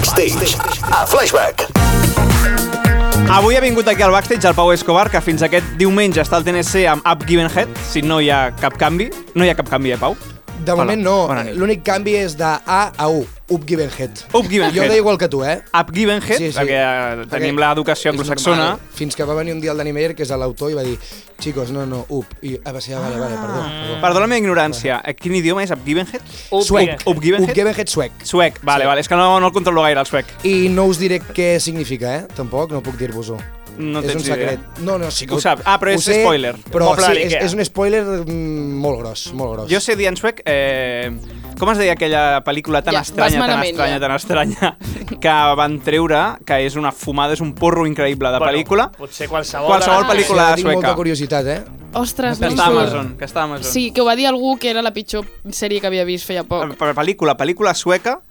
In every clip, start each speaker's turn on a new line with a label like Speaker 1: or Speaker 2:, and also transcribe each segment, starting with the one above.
Speaker 1: Backstage, a Flashback.
Speaker 2: Avui ha vingut aquí al backstage el Pau Escobar, que fins aquest diumenge està al TNC amb Up Given Head, si no hi ha cap canvi. No hi ha cap canvi, eh, Pau?
Speaker 3: De moment
Speaker 2: bona
Speaker 3: no,
Speaker 2: nit. Oh.
Speaker 3: l'únic canvi és de A a U, Up Given Head.
Speaker 2: Up Given
Speaker 3: jo
Speaker 2: Head.
Speaker 3: deia igual que tu, eh?
Speaker 2: Up Given Head,
Speaker 3: Sí, sí.
Speaker 2: perquè eh, tenim l'educació
Speaker 3: És
Speaker 2: anglosaxona.
Speaker 3: normal. Fins que va venir un dia el Danny Meyer, que és l'autor, i va dir «Chicos, no, no, Up». I ah, va ser, ah, vale, vale, perdó. perdó.
Speaker 2: Perdó la meva ignorància, eh, quin idioma és Up Given Head?
Speaker 3: Suec.
Speaker 2: Up Given Head?
Speaker 3: Up Given Head suec.
Speaker 2: Suec, vale, vale, és que no, no el controlo gaire, el suec.
Speaker 3: I no us diré què significa, eh? Tampoc, no puc dir-vos-ho.
Speaker 2: No
Speaker 3: és
Speaker 2: tens
Speaker 3: un secret.
Speaker 2: idea.
Speaker 3: No, no, sí que
Speaker 2: Ho saps. Ah, però
Speaker 3: ho
Speaker 2: és spoiler.
Speaker 3: Però
Speaker 2: Poble de
Speaker 3: sí, és,
Speaker 2: l'Ikea.
Speaker 3: és un spoiler mm, molt gros, molt gros.
Speaker 2: Jo sé dir en suec... Eh, com es deia aquella pel·lícula tan
Speaker 4: Ja, vas
Speaker 2: estranya, tan
Speaker 4: malament,
Speaker 2: estranya,
Speaker 4: ja.
Speaker 2: tan estranya, que van treure, que és una fumada, és un porro increïble de pel·lícula,
Speaker 5: Potser qualsevol...
Speaker 2: qualsevol pel·lícula
Speaker 3: Tinc
Speaker 2: sueca.
Speaker 3: molta curiositat, eh?
Speaker 4: Ostres,
Speaker 2: Que
Speaker 4: no em
Speaker 2: està a
Speaker 4: surt.
Speaker 2: Amazon, que està a Amazon.
Speaker 4: Sí, que ho va dir algú que era la pitjor sèrie que havia vist feia
Speaker 2: Eh,
Speaker 5: Ah,
Speaker 4: poc.
Speaker 2: Per pel·lícula, pel·lícula sueca,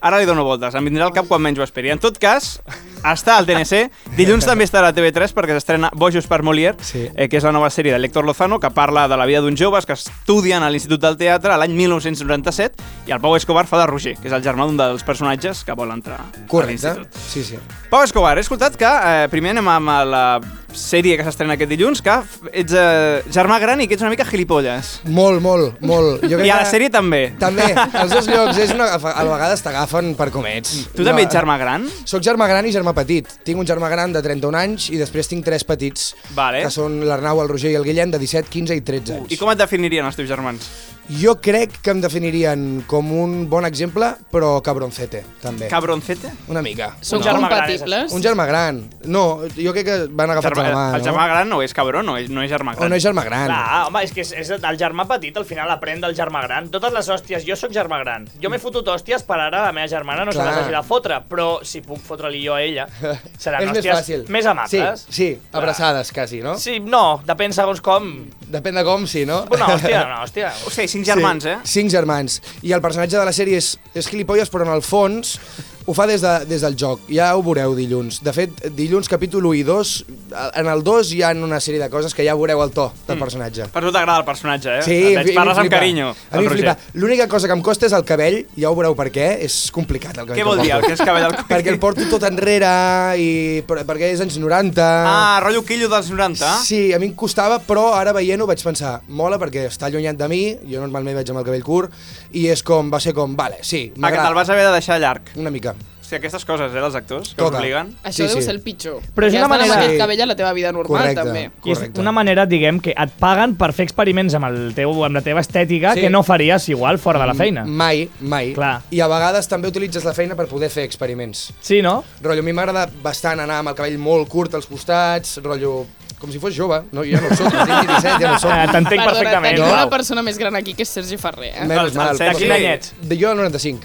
Speaker 2: ara li dono voltes, em vindrà al cap quan menys ho esperi. En tot cas, està al TNC, dilluns també estarà a TV3 perquè s'estrena Bojos per Molière,
Speaker 3: Sí.
Speaker 2: eh, que és la nova sèrie de l'Hector Lozano, que parla de la vida d'uns joves que estudien a l'Institut del Teatre l'any 1997, i el Pau Escobar fa de Roger, que és el germà d'un dels personatges que vol entrar a
Speaker 3: Correcte.
Speaker 2: l'institut.
Speaker 3: Sí, sí.
Speaker 2: Pau Escobar, he escoltat que eh, primer anem amb la sèrie que s'estrena aquest dilluns, que f- ets eh, germà gran i que ets una mica gilipolles.
Speaker 3: Molt, molt, molt. Jo
Speaker 2: I a la
Speaker 3: que-
Speaker 2: sèrie també.
Speaker 3: També, els dos llocs, és una, a vegades t'agafen per com ets.
Speaker 2: Mm, Tu també ets germà gran?
Speaker 3: Soc germà gran i germà petit. Tinc un germà gran de 31 anys i després tinc tres petits,
Speaker 2: Vale.
Speaker 3: que són l'Arnau, el Roger i el Guillem, de 17, 15 i 13 anys.
Speaker 2: I com et definirien els teus germans?
Speaker 3: Jo crec que em definirien com un bon exemple, però cabroncete, també.
Speaker 2: Cabroncete?
Speaker 3: Una mica.
Speaker 4: Són
Speaker 5: No.
Speaker 4: compatibles?
Speaker 3: Un germà gran. No, jo crec que van agafar
Speaker 2: Germà,
Speaker 3: la mà,
Speaker 2: el
Speaker 3: no?
Speaker 2: germà gran no és cabró, no és, no és germà
Speaker 3: O
Speaker 2: gran.
Speaker 3: no és germà gran.
Speaker 5: Clar, home, és que és, és el germà petit, al final aprèn del germà gran. Totes les hòsties, jo sóc germà gran. Jo m'he fotut hòsties per ara, la meva germana no se
Speaker 3: Clar.
Speaker 5: les hagi de fotre, però si puc fotre-li jo a ella, seran
Speaker 3: és més
Speaker 5: hòsties
Speaker 3: fàcil.
Speaker 5: més amables.
Speaker 3: Sí, sí, abraçades, quasi, no?
Speaker 5: Sí, no, depèn segons com.
Speaker 3: Depèn de com, sí, no?
Speaker 5: Una hòstia, una hòstia.
Speaker 2: O sigui, cinc germans,
Speaker 3: sí.
Speaker 2: eh?
Speaker 3: Cinc germans. I el personatge de la sèrie és, és gilipolles, però en el fons ho fa des, de, des del joc. Ja ho veureu dilluns. De fet, dilluns capítol 1 i 2, en el 2 hi ha una sèrie de coses que ja veureu el to del personatge.
Speaker 2: Per tu t'agrada el personatge, eh?
Speaker 3: Sí,
Speaker 2: Et
Speaker 3: a mi
Speaker 2: veig, Mm. parles amb
Speaker 3: flipa.
Speaker 2: carinyo.
Speaker 3: A mi
Speaker 2: el
Speaker 3: em
Speaker 2: Roger.
Speaker 3: flipa. L'única cosa que em costa és el cabell, ja ho veureu per què, és complicat el cabell.
Speaker 2: Què
Speaker 3: que
Speaker 2: vol dir, el
Speaker 3: porto.
Speaker 2: que és cabell al coll?
Speaker 3: Perquè el porto tot enrere, i per- perquè és anys 90...
Speaker 2: Ah, rotllo quillo dels Ah, 90?
Speaker 3: Sí, a mi em costava, però ara veient-ho vaig pensar, mola perquè està allunyat de mi, jo normalment vaig amb el cabell curt, i és com, va ser com, vale, sí,
Speaker 2: Ah, que te'l
Speaker 3: m'agrada.
Speaker 2: vas haver de deixar llarg.
Speaker 3: Una mica.
Speaker 2: O sigui, aquestes coses, eh, dels actors, que
Speaker 3: Tota.
Speaker 2: obliguen.
Speaker 3: Sí,
Speaker 4: Això deu
Speaker 3: sí.
Speaker 4: ser el pitjor.
Speaker 5: Però és una
Speaker 4: Perquè has d'anar
Speaker 5: manera-
Speaker 4: amb
Speaker 3: Sí.
Speaker 4: aquest cabell a la teva vida normal,
Speaker 3: Correcte.
Speaker 4: també.
Speaker 5: I és
Speaker 3: Correcte.
Speaker 5: una manera, diguem, que et paguen per fer experiments amb, el teu, amb la teva estètica
Speaker 3: Sí. Mm.
Speaker 5: que no faries igual fora de la feina.
Speaker 3: Mai, mai.
Speaker 5: Clar.
Speaker 3: I a vegades també utilitzes la feina per poder fer experiments.
Speaker 5: Sí, no?
Speaker 3: Rotllo, a mi m'agrada bastant anar amb el cabell molt curt als costats, rotllo, com si fos jove, no? Jo ja no ho soc, tinc 17, ja no ho
Speaker 5: Ah,
Speaker 3: soc.
Speaker 5: T'entenc
Speaker 4: Perdona,
Speaker 5: perfectament,
Speaker 4: tenim una
Speaker 5: Pau.
Speaker 4: persona més gran aquí, que és Sergi Ferrer. Eh?
Speaker 3: Menys
Speaker 2: El- el
Speaker 3: mal.
Speaker 2: Sergi-
Speaker 5: De quin any ets?
Speaker 3: De jo, 95.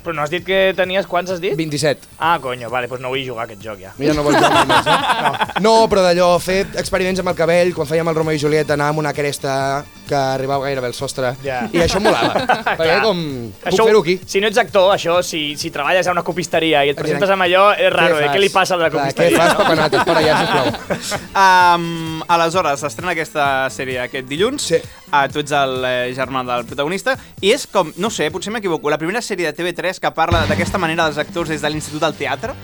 Speaker 5: Però no has dit que tenies quants
Speaker 2: Eh?
Speaker 5: has dit?
Speaker 3: 27.
Speaker 5: Ah, conyo, vale, doncs no vull jugar a aquest joc ja.
Speaker 3: Ja no vols jugar més, eh? No. no, però d'allò, fer experiments amb el cabell, quan fèiem el Romeo i Julieta, anar amb una cresta que arribava gairebé al sostre.
Speaker 5: Ja.
Speaker 3: I això molava. perquè
Speaker 5: Clar.
Speaker 3: com... Puc fer-ho aquí.
Speaker 5: Si no ets actor, això, si, si treballes a una copisteria i et presentes
Speaker 3: Exacte.
Speaker 5: amb allò, és raro, eh?
Speaker 3: fas?
Speaker 5: Què li passa a la
Speaker 3: Clar, Què
Speaker 5: copisteria?
Speaker 3: fas, papanates? Per allà, sisplau.
Speaker 2: Um, aleshores, s'estrena aquesta sèrie aquest dilluns.
Speaker 3: Sí.
Speaker 2: Uh, tu ets el eh, germà del protagonista. I és com, no sé, potser m'equivoco, la primera sèrie de TV3 que parla d'aquesta manera dels actors des de l'Institut del Teatre?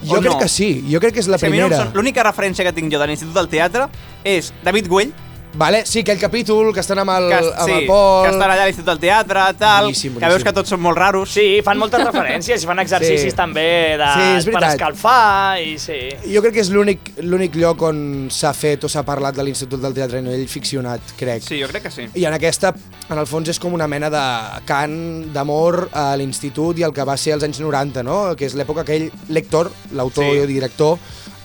Speaker 3: Jo
Speaker 2: O
Speaker 3: crec
Speaker 2: no?
Speaker 3: que sí, jo crec que és la
Speaker 2: És que a mi no em
Speaker 3: primera.
Speaker 2: sona- L'única referència que tinc jo de l'Institut del Teatre és David Güell,
Speaker 3: Vale, sí, aquell capítol que estan amb el,
Speaker 2: que,
Speaker 3: amb
Speaker 2: sí,
Speaker 3: el Pol...
Speaker 2: que estan allà a l'Institut del Teatre, tal,
Speaker 3: Boníssim,
Speaker 2: que veus
Speaker 3: boníssim.
Speaker 2: que tots són molt raros.
Speaker 5: Sí, fan moltes referències i fan exercicis
Speaker 3: Sí.
Speaker 5: també de,
Speaker 3: Sí, és
Speaker 5: per
Speaker 3: veritat.
Speaker 5: escalfar i sí.
Speaker 3: Jo crec que és l'únic l'únic lloc on s'ha fet o s'ha parlat de l'Institut del Teatre a nivell ficcionat, crec.
Speaker 2: Sí, jo crec que sí.
Speaker 3: I en aquesta, en el fons, és com una mena de cant d'amor a l'institut i el que va ser als anys 90, no? Que és l'època que ell, lector, l'autor
Speaker 2: Sí.
Speaker 3: i director,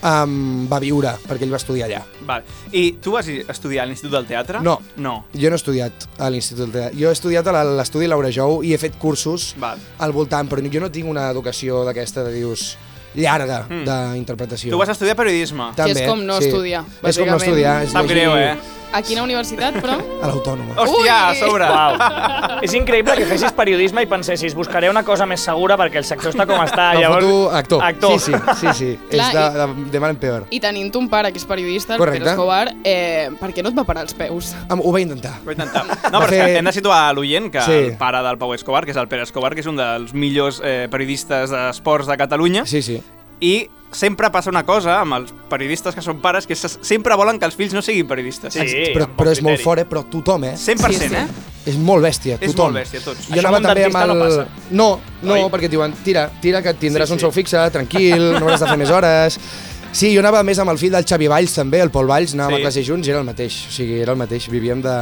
Speaker 3: um, va viure, perquè ell va estudiar allà.
Speaker 2: Vale. I tu vas estudiar a l'Institut del Teatre?
Speaker 3: No.
Speaker 2: No.
Speaker 3: Jo no he estudiat a l'Institut del Teatre. Jo he estudiat a la- l'estudi Laura Jou i he fet cursos
Speaker 2: Val.
Speaker 3: al voltant, però jo no tinc una educació d'aquesta, de dius, llarga, d'interpretació.
Speaker 2: Mm. Tu vas estudiar periodisme.
Speaker 4: Que és com no estudiar,
Speaker 3: És com no
Speaker 4: bàsicament.
Speaker 3: estudiar. és
Speaker 2: Sap greu, eh?
Speaker 4: A quina universitat, però?
Speaker 3: A l'Autònoma.
Speaker 2: Hòstia, a sobre!
Speaker 5: Uau. És increïble que fessis periodisme i pensessis, buscaré una cosa més segura perquè el sector està com està.
Speaker 2: Ah,
Speaker 3: No,
Speaker 5: llavors...
Speaker 3: foto actor.
Speaker 5: Actor.
Speaker 3: Sí, sí, sí. sí.
Speaker 4: Clar,
Speaker 3: és de, de, de mal en peor.
Speaker 4: I tenint un pare que és periodista, el
Speaker 3: Correcte.
Speaker 4: Pere Escobar, eh, per què no et va parar els peus?
Speaker 3: Am- Ho va intentar.
Speaker 2: Ho he intentat. No,
Speaker 3: Va
Speaker 2: però és que
Speaker 3: fer-
Speaker 2: hem de situar a l'oient que
Speaker 3: Sí.
Speaker 2: el pare del Pau Escobar, que és el Pere Escobar, que és un dels millors eh, periodistes d'esports de Catalunya,
Speaker 3: Sí, sí.
Speaker 2: i sempre passa una cosa amb els periodistes que són pares, que se- sempre volen que els fills no siguin periodistes.
Speaker 5: Sí,
Speaker 3: però,
Speaker 5: amb bon
Speaker 3: però és molt
Speaker 5: criteri.
Speaker 3: fort, eh? Però tothom, eh?
Speaker 2: 100%,
Speaker 4: Sí, sí.
Speaker 2: eh?
Speaker 3: És molt bèstia,
Speaker 2: És
Speaker 3: tothom.
Speaker 2: molt bèstia, tots.
Speaker 3: Jo
Speaker 5: Això
Speaker 3: anava
Speaker 5: amb un
Speaker 3: també amb
Speaker 5: dentista
Speaker 3: el...
Speaker 5: no passa.
Speaker 3: No, no,
Speaker 5: Oi?
Speaker 3: perquè et diuen, tira, tira que tindràs
Speaker 5: Sí,
Speaker 3: un
Speaker 5: sí.
Speaker 3: sou fixe, tranquil, no hauràs de fer més hores... Sí, jo anava més amb el fill del Xavi Valls, també, el Pol Valls, anàvem
Speaker 2: Sí.
Speaker 3: a classe junts i era el mateix. O sigui, era el mateix, vivíem de,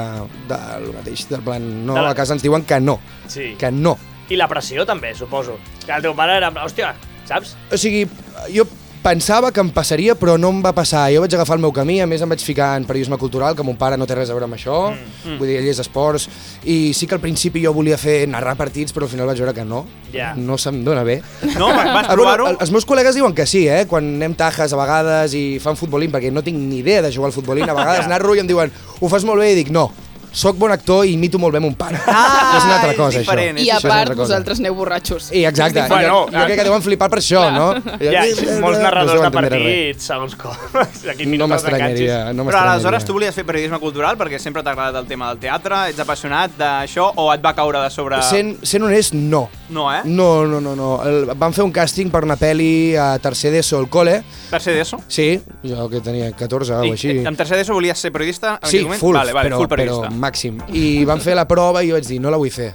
Speaker 3: de, el mateix, del plan, no,
Speaker 5: De la-
Speaker 3: a casa ens diuen que no,
Speaker 5: Sí.
Speaker 3: que no.
Speaker 5: I la pressió també, suposo. Que el teu pare era... Hòstia, saps?
Speaker 3: O sigui, jo pensava que em passaria, però no em va passar. Jo vaig agafar el meu camí, a més em vaig ficar en periodisme cultural, que mon pare no té res a veure amb això, mm. vull dir, ell és esports, i sí que al principi jo volia fer narrar partits, però al final vaig veure que no,
Speaker 5: Ja.
Speaker 3: no se'm dona bé.
Speaker 2: No, va- vas
Speaker 3: Ah,
Speaker 2: provar-ho?
Speaker 3: el- els meus col·legues diuen que sí, eh? Quan anem tajes a vegades i fan futbolín, perquè no tinc ni idea de jugar al futbolín, a vegades narro i em diuen ho fas molt bé i dic no, sóc bon actor i imito molt bé mon pare.
Speaker 2: Ah,
Speaker 3: és una altra
Speaker 2: és
Speaker 3: cosa,
Speaker 2: diferent,
Speaker 3: això.
Speaker 4: I a
Speaker 3: Això és una
Speaker 4: part,
Speaker 3: altra cosa.
Speaker 4: vosaltres aneu borratxos.
Speaker 3: I exacte,
Speaker 5: És diferent.
Speaker 3: jo,
Speaker 5: Bueno,
Speaker 3: jo crec que deuen flipar per això, no?
Speaker 5: Ja, molts narradors
Speaker 3: deuen
Speaker 5: de
Speaker 3: entendre res.
Speaker 5: partits, segons com. Aquí
Speaker 3: No
Speaker 5: minuts els
Speaker 3: m'estranyaria,
Speaker 5: enganxis.
Speaker 3: no
Speaker 2: Però
Speaker 3: m'estranyaria.
Speaker 2: aleshores tu volies fer periodisme cultural perquè sempre t'ha agradat el tema del teatre, ets apassionat d'això o et va caure de sobre...
Speaker 3: Sent, sent honest, no.
Speaker 2: No, eh?
Speaker 3: No, no, no, no. El, vam fer un càsting per una pel·li a tercer d'ESO al col·le.
Speaker 2: Tercer d'ESO?
Speaker 3: Sí, jo que tenia 14
Speaker 2: I,
Speaker 3: o alguna cosa així.
Speaker 2: En tercer d'ESO volies ser periodista? En
Speaker 3: Sí,
Speaker 2: aquell moment?
Speaker 3: full,
Speaker 2: vale, vale,
Speaker 3: però,
Speaker 2: full
Speaker 3: però
Speaker 2: periodista.
Speaker 3: màxim. I van fer la prova i jo vaig dir, no la vull fer.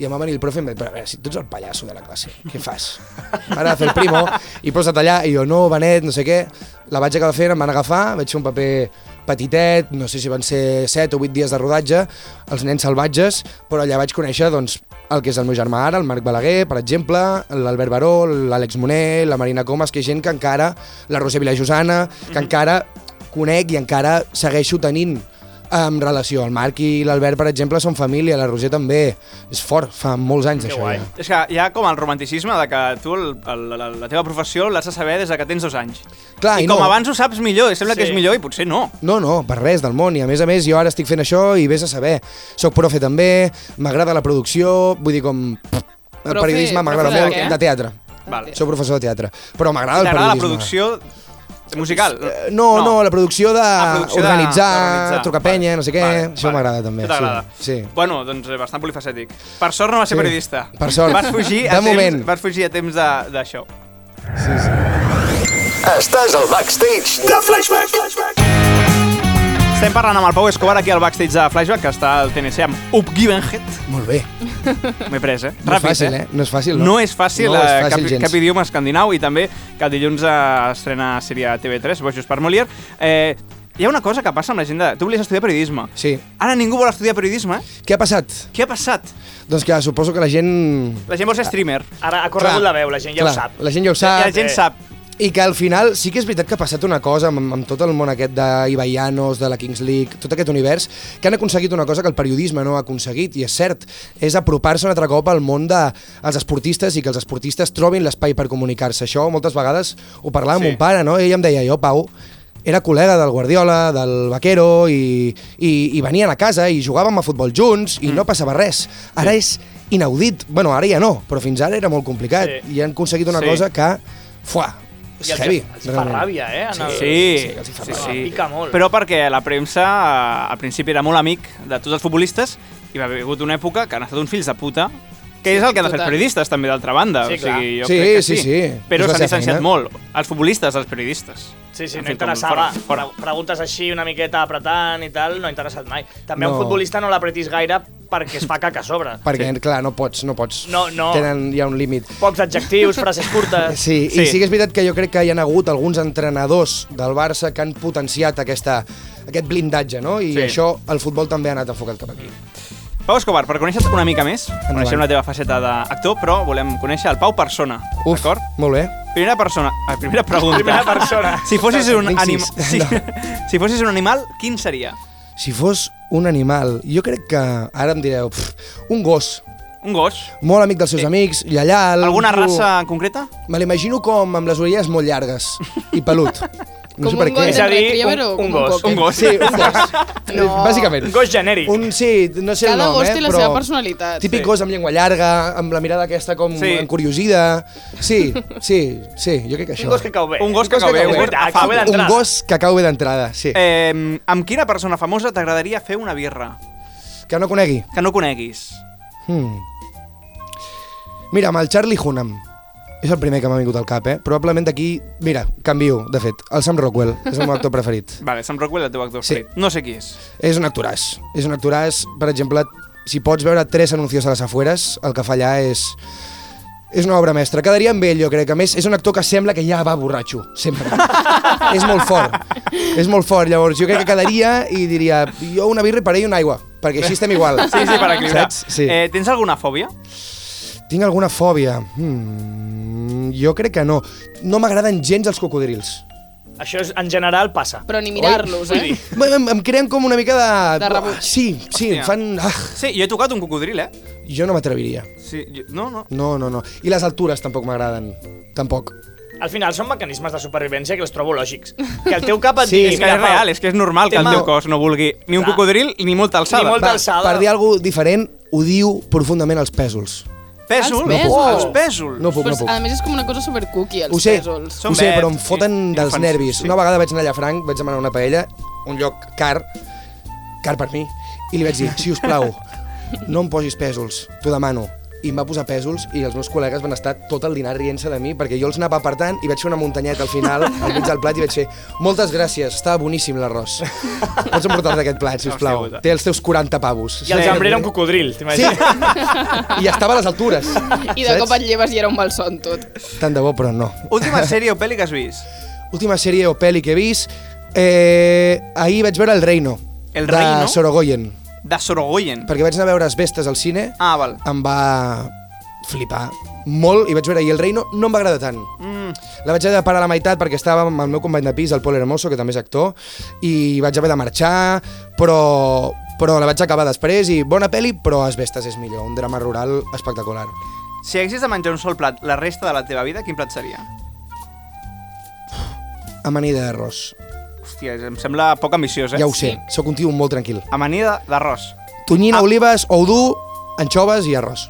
Speaker 3: I em va venir el profe i em va dir, però a veure, si tu ets el pallasso de la classe, què fas? M'ha de fer el primo i posa't allà. I jo, no, Benet, no sé què. La vaig acabar fent, em van agafar, vaig fer un paper petitet, no sé si van ser 7 o 8 dies de rodatge, els nens salvatges, però allà vaig conèixer doncs, el que és el meu germà ara, el Marc Balaguer, per exemple, l'Albert Baró, l'Àlex Moner, la Marina Comas, que és gent que encara, la Roser Vilajosana, que encara conec i encara segueixo tenint amb relació. El Marc i l'Albert, per exemple, són família, la Roser també. És fort, fa molts anys
Speaker 5: Que
Speaker 3: això
Speaker 5: guai.
Speaker 3: ja.
Speaker 2: És que hi ha com el romanticisme de que tu el, el, la, la teva professió l'has de saber des de que tens dos anys.
Speaker 3: Clar,
Speaker 2: I
Speaker 3: Ah, i
Speaker 2: com
Speaker 3: no.
Speaker 2: abans ho saps millor, i sembla
Speaker 5: Sí.
Speaker 2: que és millor i potser no.
Speaker 3: No, no, per res del món. I a més a més, jo ara estic fent això i vés a saber. Soc profe també, m'agrada la producció, vull dir com... El
Speaker 4: Profe-
Speaker 3: periodisme m'agrada
Speaker 4: profe de
Speaker 3: molt,
Speaker 4: què?
Speaker 3: de teatre.
Speaker 2: Vale.
Speaker 3: Soc professor de teatre, però m'agrada el
Speaker 2: T'agrada la
Speaker 3: periodisme.
Speaker 2: producció musical?
Speaker 3: Eh, No, no, la producció de
Speaker 2: La producció de-
Speaker 3: organitzar,
Speaker 2: d'organitzar.
Speaker 3: trucar penya, no sé què,
Speaker 2: Vale,
Speaker 3: això
Speaker 2: vale.
Speaker 3: m'agrada també.
Speaker 2: Això t'agrada.
Speaker 3: Sí, sí.
Speaker 2: Bueno, doncs eh, bastant polifacètic. Per sort no vas ser
Speaker 3: Sí,
Speaker 2: periodista.
Speaker 3: per sort.
Speaker 2: Vas fugir
Speaker 3: De
Speaker 2: a
Speaker 3: moment.
Speaker 2: temps, vas fugir a temps de- d'això.
Speaker 1: Estàs al backstage de Flashback.
Speaker 2: Estem parlant amb el Pau Escobar aquí al backstage de Flashback, que està al TNC amb Up Givenhead.
Speaker 3: Molt bé.
Speaker 2: M'he pres, eh?
Speaker 3: No és fàcil, eh? No és fàcil, no?
Speaker 2: No és fàcil,
Speaker 3: No
Speaker 2: eh,
Speaker 3: és fàcil
Speaker 2: cap,
Speaker 3: gens.
Speaker 2: cap idioma escandinau i també que dilluns eh, estrena sèrie a TV3, Bojos per Molière. Eh, hi ha una cosa que passa amb la gent de... Tu volies estudiar periodisme.
Speaker 3: Sí.
Speaker 2: Ara ningú vol estudiar periodisme, eh?
Speaker 3: Què ha passat?
Speaker 2: Què ha passat?
Speaker 3: Doncs que suposo que la gent...
Speaker 2: La gent vol
Speaker 3: Ah.
Speaker 2: ser streamer.
Speaker 5: Ara ha corregut
Speaker 3: Clar,
Speaker 5: la veu, la gent ja
Speaker 3: clar,
Speaker 5: ho sap.
Speaker 3: La gent ja ho
Speaker 2: Ah,
Speaker 3: sap.
Speaker 2: la gent
Speaker 5: eh.
Speaker 2: sap.
Speaker 3: I que al final sí que és veritat que ha passat una cosa amb, amb tot el món aquest d'Ibaianos, de la Kings League, tot aquest univers, que han aconseguit una cosa que el periodisme no ha aconseguit, i és cert, és apropar-se un altre cop al món dels de, els esportistes i que els esportistes trobin l'espai per comunicar-se. Això moltes vegades ho parlava sí. amb mon pare, no? ell em deia, jo, Pau, era col·lega del Guardiola, del Vaquero, i, i, i venien a casa i jugàvem a futbol junts i no passava res. Ara és inaudit. bueno, ara ja no, però fins ara era molt complicat.
Speaker 5: Sí.
Speaker 3: I han aconseguit una
Speaker 2: Sí.
Speaker 3: cosa que... Fuà, és
Speaker 5: I els,
Speaker 3: heavy.
Speaker 5: els fa ràbia, eh? En el...
Speaker 2: Sí,
Speaker 3: els hi fa
Speaker 2: sí,
Speaker 5: mal.
Speaker 2: sí.
Speaker 5: Ah, Pica molt.
Speaker 2: Però perquè la premsa eh, al principi era molt amic de tots els futbolistes i va haver hagut una època que han estat uns fills de puta que és el que han de fer els
Speaker 4: total.
Speaker 2: periodistes, també, d'altra banda.
Speaker 5: Sí,
Speaker 2: o sigui, jo
Speaker 3: clar.
Speaker 2: crec que
Speaker 3: Sí,
Speaker 2: sí,
Speaker 3: sí, sí.
Speaker 2: Però
Speaker 3: És la
Speaker 2: s'han
Speaker 3: seva
Speaker 2: distanciat
Speaker 3: feina.
Speaker 2: molt. Els futbolistes, els periodistes.
Speaker 5: Sí, sí,
Speaker 2: Han fet com
Speaker 5: no interessava.
Speaker 2: Fora, fora.
Speaker 5: Fora. Preguntes així una miqueta apretant i tal, no ha interessat mai. També no.
Speaker 3: No.
Speaker 5: un futbolista no l'apretis gaire perquè es fa caca a sobre.
Speaker 3: Perquè, clar, no pots, no pots.
Speaker 5: No, no.
Speaker 3: Tenen, hi ha un límit. Eh,
Speaker 5: Pocs adjectius, frases curtes...
Speaker 3: Sí, sí,
Speaker 2: Sí.
Speaker 3: i sí que és veritat que jo crec que hi ha hagut alguns entrenadors del Barça que han potenciat aquesta, aquest blindatge, no?
Speaker 2: Sí.
Speaker 3: I sí. això, el futbol també ha anat enfocat cap aquí.
Speaker 2: Pau Escobar, per conèixer una mica més, coneixem la teva faceta d'actor, però volem conèixer el Pau persona, d'acord?
Speaker 3: molt bé.
Speaker 2: Primera persona... Ai, primera pregunta.
Speaker 5: Primera persona.
Speaker 2: Si fossis un
Speaker 3: Tinc
Speaker 2: animal...
Speaker 3: sis.
Speaker 2: Si,
Speaker 3: No.
Speaker 2: si fossis un animal, quin seria?
Speaker 3: Si fos un animal, jo crec que, ara em direu, pff, un gos,
Speaker 2: Un gos?
Speaker 3: molt amic dels seus sí. amics, lleial...
Speaker 2: Alguna
Speaker 3: tu-
Speaker 2: raça en concreta?
Speaker 3: Me l'imagino com amb les orelles molt llargues i pelut. No
Speaker 4: Com
Speaker 3: sé per
Speaker 4: un
Speaker 3: què.
Speaker 4: gos
Speaker 5: És a
Speaker 4: de
Speaker 5: dir,
Speaker 4: retriever o
Speaker 5: un-
Speaker 4: com
Speaker 5: un gos.
Speaker 4: cocker?
Speaker 2: Un gos.
Speaker 3: Sí, un gos.
Speaker 4: No.
Speaker 3: Bàsicament.
Speaker 5: Un gos genèric.
Speaker 3: Un, sí, no sé
Speaker 4: Cada
Speaker 3: el nom,
Speaker 4: gos
Speaker 3: eh,
Speaker 4: té la
Speaker 3: però
Speaker 4: seva personalitat.
Speaker 3: Típic gos amb llengua llarga, amb la mirada aquesta com
Speaker 2: Sí.
Speaker 3: encuriosida. Sí, sí, sí, jo crec que això.
Speaker 5: Un gos que cau bé.
Speaker 2: Un gos que cau bé,
Speaker 5: És
Speaker 2: un gos
Speaker 5: veritat,
Speaker 2: afable.
Speaker 5: cau bé
Speaker 3: un
Speaker 5: d'entrada.
Speaker 3: gos que cau bé d'entrada, sí. Eh.
Speaker 2: Eh, amb quina persona famosa t'agradaria fer una birra?
Speaker 3: Que no conegui.
Speaker 2: Que no coneguis.
Speaker 3: Hmm. Mira, amb el Charlie Hunnam. És el primer que m'ha vingut al cap, eh? Probablement d'aquí... Mira, canvio, de fet. El Sam Rockwell és el meu actor preferit.
Speaker 2: Vale, Sam Rockwell, el teu actor
Speaker 3: Sí.
Speaker 2: sí. No sé qui és.
Speaker 3: És un actoràs. És un actoràs, per exemple, si pots veure tres anuncios a les afueres, el que fa allà és... És una obra mestra. Quedaria amb ell, jo crec. A més, és un actor que sembla que ja va borratxo, sempre. és molt fort. És molt fort. Llavors, jo crec que quedaria i diria jo una birra i per ell una aigua, perquè així estem igual.
Speaker 2: Sí, sí, per equilibrar.
Speaker 3: Ah. Saps? Sí.
Speaker 2: Eh, tens alguna fòbia?
Speaker 3: Tinc alguna fòbia? Hmm, jo crec que no. No m'agraden gens els cocodrils.
Speaker 5: Això és, en general passa.
Speaker 4: Però ni mirar-los, eh?
Speaker 3: Em, em, em creen com una mica de...
Speaker 4: De rebuig.
Speaker 3: Sí, sí, em
Speaker 2: Hòstia.
Speaker 3: fan... Ah,
Speaker 2: Sí, jo he tocat un cocodril, eh?
Speaker 3: jo no m'atreviria.
Speaker 2: Sí, jo... No, no.
Speaker 3: No, no, no. I les altures tampoc m'agraden. Tampoc.
Speaker 5: Al final són mecanismes de supervivència que els trobo lògics. Que el teu cap et
Speaker 3: Sí,
Speaker 5: digui...
Speaker 2: És que és
Speaker 5: "Mira, Pau,
Speaker 2: real, és que és normal que el
Speaker 5: Tema-
Speaker 2: teu cos no vulgui ni un
Speaker 5: Clar.
Speaker 2: cocodril ni molta alçada.
Speaker 5: Ni molta
Speaker 2: Va.
Speaker 5: alçada. Calçada.
Speaker 3: Per dir alguna cosa diferent, odio profundament els pèsols.
Speaker 2: Pèsol?
Speaker 4: Els pèsols.
Speaker 2: Oh, els pèsols.
Speaker 3: No puc,
Speaker 4: Però,
Speaker 3: no puc.
Speaker 4: a més, és com una cosa super cookie, els
Speaker 3: Ho sé,
Speaker 4: pèsols.
Speaker 2: Són
Speaker 3: ho sé, però em
Speaker 2: verds,
Speaker 3: foten
Speaker 2: sí,
Speaker 3: dels
Speaker 2: infants,
Speaker 3: nervis.
Speaker 2: sí.
Speaker 3: Una vegada vaig anar a Llafranc, vaig demanar una paella, un lloc car, car per mi, i li vaig dir, si us plau, no em posis pèsols, t'ho demano. I em va posar pèsols i els meus col·legues van estar tot el dinar rient-se de mi perquè jo els anava apartant i vaig fer una muntanyeta al final, al mig del plat, i vaig fer moltes gràcies, estava boníssim l'arròs. Pots emportar-te aquest plat, si us plau.
Speaker 2: Hòstia puta.
Speaker 3: Té els teus 40 pavos.
Speaker 5: I el
Speaker 2: Sí.
Speaker 5: xambrer era un cocodril,
Speaker 3: Sí.
Speaker 5: t'imagines?
Speaker 3: I estava a les altures.
Speaker 4: I de cop et lleves i era un malson tot.
Speaker 3: Tant de bo, però no.
Speaker 2: Última sèrie o pel·li que has vist?
Speaker 3: Última sèrie o pel·li que he vist... Eh, ahir vaig veure El Reino.
Speaker 2: El
Speaker 3: de
Speaker 2: Reino?
Speaker 3: Sorogoyen.
Speaker 2: De Sorogoyen.
Speaker 3: Perquè vaig anar a veure les Vestes al cine.
Speaker 2: Ah, val.
Speaker 3: Em va flipar molt i vaig veure i El Reino no em va agradar tant.
Speaker 2: Mm.
Speaker 3: La vaig haver de parar a la meitat perquè estava amb el meu company de pis, el Pol Hermoso, que també és actor, i vaig haver de marxar, però, però la vaig acabar després i bona pel·li, però As Vestes és millor, un drama rural espectacular.
Speaker 2: Si haguessis de menjar un sol plat la resta de la teva vida, quin plat seria?
Speaker 3: Amanida d'arròs.
Speaker 2: Hòstia, em sembla poc ambiciós, eh?
Speaker 3: Ja ho sé, sóc un tio molt tranquil.
Speaker 2: Amanida d'arròs.
Speaker 3: Tonyina, ah. olives, oudú, anchoves i arròs.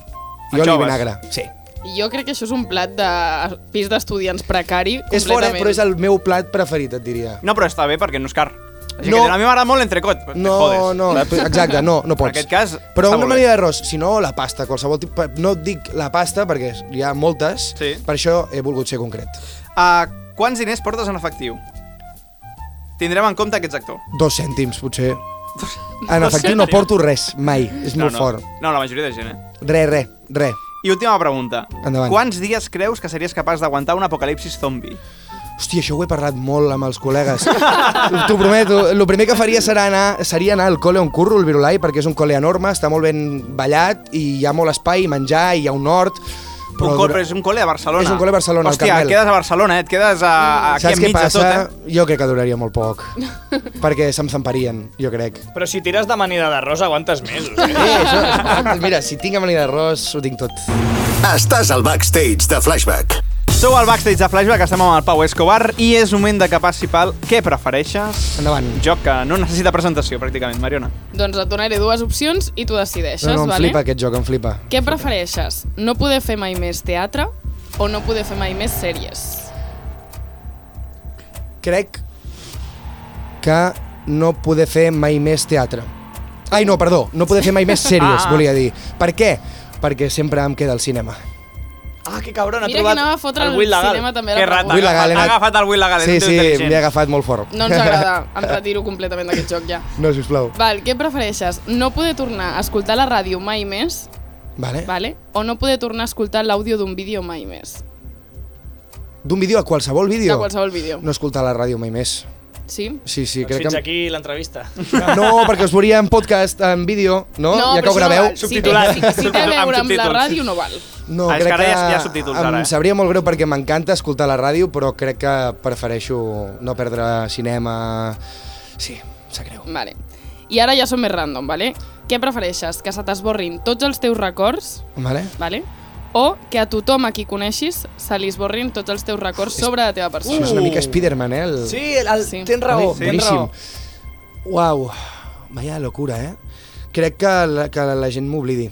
Speaker 3: I oli i
Speaker 2: Anchoves.
Speaker 3: vinagre. Sí.
Speaker 4: I Jo crec que això és un plat de pis d'estudiants precari.
Speaker 3: És fort, eh,
Speaker 4: completament.
Speaker 3: però és el meu plat preferit, et diria.
Speaker 2: No, però està bé perquè no és car. Així
Speaker 3: No.
Speaker 2: que a mi m'agrada molt l'entrecot. però
Speaker 3: No,
Speaker 2: Te jodes.
Speaker 3: no, exacte, no, no pots.
Speaker 2: En aquest cas,
Speaker 3: Però
Speaker 2: està
Speaker 3: una
Speaker 2: molt bé.
Speaker 3: manera d'arròs, si no, la pasta, qualsevol tipus... No et dic la pasta, perquè hi ha moltes,
Speaker 2: Sí.
Speaker 3: per això he volgut ser concret.
Speaker 2: Uh, quants diners portes en efectiu? Tindrem en compte aquest actor.
Speaker 3: Dos cèntims, potser. En efectiu, no porto res, mai. És molt
Speaker 2: no.
Speaker 3: fort.
Speaker 2: No, la majoria de gent, eh?
Speaker 3: Re, re, re.
Speaker 2: I última pregunta.
Speaker 3: Endavant.
Speaker 2: Quants dies creus que series capaç d'aguantar un apocalipsis zombi?
Speaker 3: Hòstia, això ho he parlat molt amb els col·legues. T'ho prometo. El primer que faria serà anar, seria anar al col·le on curro, el Virulai, perquè és un col·le enorme, està molt ben ballat i hi ha molt espai, menjar, i hi ha un hort.
Speaker 2: Però un col,
Speaker 3: dura-
Speaker 2: però és un col·le a Barcelona.
Speaker 3: És un col·le a Barcelona, al
Speaker 2: Hòstia,
Speaker 3: Carmel.
Speaker 2: quedes a Barcelona, eh? Et quedes a, a aquí
Speaker 3: Saps què
Speaker 2: enmig de
Speaker 3: passa?
Speaker 2: tot, eh?
Speaker 3: Jo crec que duraria molt poc, perquè se'm zamparien, jo crec.
Speaker 5: Però si tires d'amanida d'arròs aguantes mesos. Eh?
Speaker 3: Eh, això, és- mira, si tinc amanida d'arròs, ho tinc tot.
Speaker 1: Estàs al backstage de Flashback.
Speaker 2: Sou al backstage de Flashback, estem amb el Pau Escobar i és moment de que passi pel què prefereixes.
Speaker 3: Endavant.
Speaker 2: Un joc que no necessita presentació, pràcticament, Mariona.
Speaker 4: Doncs et donaré dues opcions i tu decideixes,
Speaker 3: No, no, em
Speaker 4: vale?
Speaker 3: flipa aquest joc, em flipa.
Speaker 4: Què prefereixes? No poder fer mai més teatre o no poder fer mai més sèries?
Speaker 3: Crec que no poder fer mai més teatre. Ai, no, perdó, no poder fer mai més sèries,
Speaker 2: Ah.
Speaker 3: volia dir. Per què? Perquè sempre em queda el cinema.
Speaker 5: Ah, que cabron, ha
Speaker 4: Mira que
Speaker 5: trobat
Speaker 4: anava a fotre el,
Speaker 5: Will Legal.
Speaker 4: cinema també a
Speaker 2: Que
Speaker 4: la
Speaker 2: rata,
Speaker 4: pregunta.
Speaker 3: Will
Speaker 2: ha
Speaker 3: Legal,
Speaker 2: agafat,
Speaker 3: he
Speaker 2: ha
Speaker 3: anat-
Speaker 2: agafat el Will Legal, és
Speaker 3: Sí,
Speaker 2: un tio
Speaker 3: sí,
Speaker 2: intel·ligent.
Speaker 3: m'he agafat molt fort.
Speaker 4: No ens agrada, em retiro completament d'aquest joc ja.
Speaker 3: No, sisplau.
Speaker 4: Val, què prefereixes? No poder tornar a escoltar la ràdio mai més,
Speaker 3: Vale.
Speaker 4: vale? o no poder tornar a escoltar l'àudio d'un vídeo mai més?
Speaker 3: D'un vídeo a qualsevol vídeo?
Speaker 4: De qualsevol vídeo.
Speaker 3: No escoltar la ràdio mai més.
Speaker 4: Sí?
Speaker 3: Sí, sí,
Speaker 5: Doncs
Speaker 3: crec
Speaker 5: fins
Speaker 3: que...
Speaker 5: aquí l'entrevista.
Speaker 3: No, perquè us veuria en podcast, en vídeo, no? ja que
Speaker 4: però
Speaker 3: ho
Speaker 4: això
Speaker 3: graveu.
Speaker 4: val. Si té-
Speaker 5: subtitulat.
Speaker 4: Si, si té a
Speaker 2: Subtitulat, amb
Speaker 4: veure amb la
Speaker 2: subtítols.
Speaker 4: ràdio, no val.
Speaker 3: No,
Speaker 2: Ah, és
Speaker 3: crec
Speaker 2: que ara
Speaker 3: que
Speaker 2: ja- hi ha subtítols,
Speaker 3: em
Speaker 2: ara, eh?
Speaker 3: sabria molt greu perquè m'encanta escoltar la ràdio, però crec que prefereixo no perdre cinema... Sí, em sap greu.
Speaker 4: Vale. I ara ja som més random, vale? Què prefereixes? Que se t'esborrin tots els teus records,
Speaker 3: Vale?
Speaker 4: vale? o que a tothom a qui coneixis se li esborrin tots els teus records sobre la teva
Speaker 3: Això
Speaker 4: persona.
Speaker 3: és una mica Spiderman, eh? El...
Speaker 5: Sí, el, el,
Speaker 4: Sí.
Speaker 5: tens raó, sí. tens raó.
Speaker 3: Boníssim. Uau, vaya locura, eh? Crec que la, que la gent m'oblidi.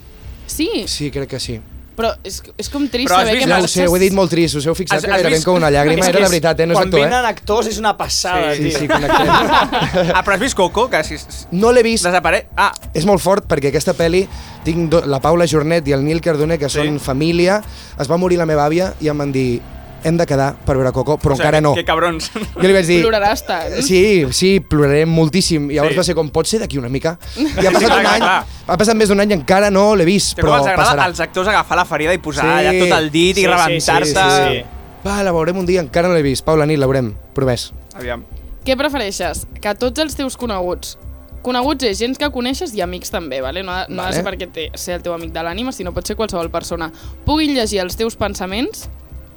Speaker 4: Sí,
Speaker 3: Sí, crec que sí.
Speaker 4: però és, és com trist
Speaker 2: Però has
Speaker 4: saber
Speaker 2: vist-
Speaker 4: que
Speaker 3: Ja ho
Speaker 4: marxes...
Speaker 3: sé, ho he dit molt trist, us heu fixat
Speaker 2: Has-
Speaker 3: que
Speaker 2: has
Speaker 3: gairebé
Speaker 2: vist-
Speaker 3: em cau una llàgrima,
Speaker 2: És
Speaker 3: era
Speaker 2: que
Speaker 3: la
Speaker 2: és-
Speaker 3: veritat, eh? No és
Speaker 5: Quan
Speaker 3: actor,
Speaker 5: venen
Speaker 3: eh?
Speaker 5: actors és una passada,
Speaker 2: Sí,
Speaker 3: Sí,
Speaker 5: tio.
Speaker 3: sí, connectem.
Speaker 2: Ah, però has vist Coco? Que si,
Speaker 3: No l'he vist,
Speaker 2: desapareix... Ah,
Speaker 3: és molt fort perquè aquesta pe·li tinc do, la Paula Jornet i el Nil Cardoner, que
Speaker 2: Sí.
Speaker 3: són família, es va morir la meva àvia i em van dir hem de quedar per veure Coco, però
Speaker 2: o sigui,
Speaker 3: encara no.
Speaker 2: Que cabrons.
Speaker 3: Jo li vaig dir...
Speaker 4: Ploraràs tant.
Speaker 3: Eh, Sí, sí, ploraré moltíssim. I llavors
Speaker 2: Sí.
Speaker 3: sí. va ser com, pot ser d'aquí una mica? I ha
Speaker 2: sí,
Speaker 3: passat
Speaker 2: clar,
Speaker 3: un any,
Speaker 2: clar.
Speaker 3: ha passat més d'un any i encara no l'he vist,
Speaker 2: Que com
Speaker 3: però
Speaker 2: els agrada
Speaker 3: passarà.
Speaker 2: als actors agafar la ferida i posar
Speaker 3: Sí.
Speaker 2: allà tot el dit
Speaker 5: Sí,
Speaker 2: i
Speaker 5: sí,
Speaker 2: rebentar-se.
Speaker 5: sí, sí,
Speaker 3: Va, la veurem un dia, encara no l'he vist. Paula, nit, la veurem, promès.
Speaker 2: Aviam.
Speaker 4: Què prefereixes? Que tots els teus coneguts... Coneguts és gent que coneixes i amics també, vale? no, ha, no ha de ser
Speaker 3: Vale.
Speaker 4: perquè té, ser el teu amic de l'ànima, sinó pot ser qualsevol persona. Puguin llegir els teus pensaments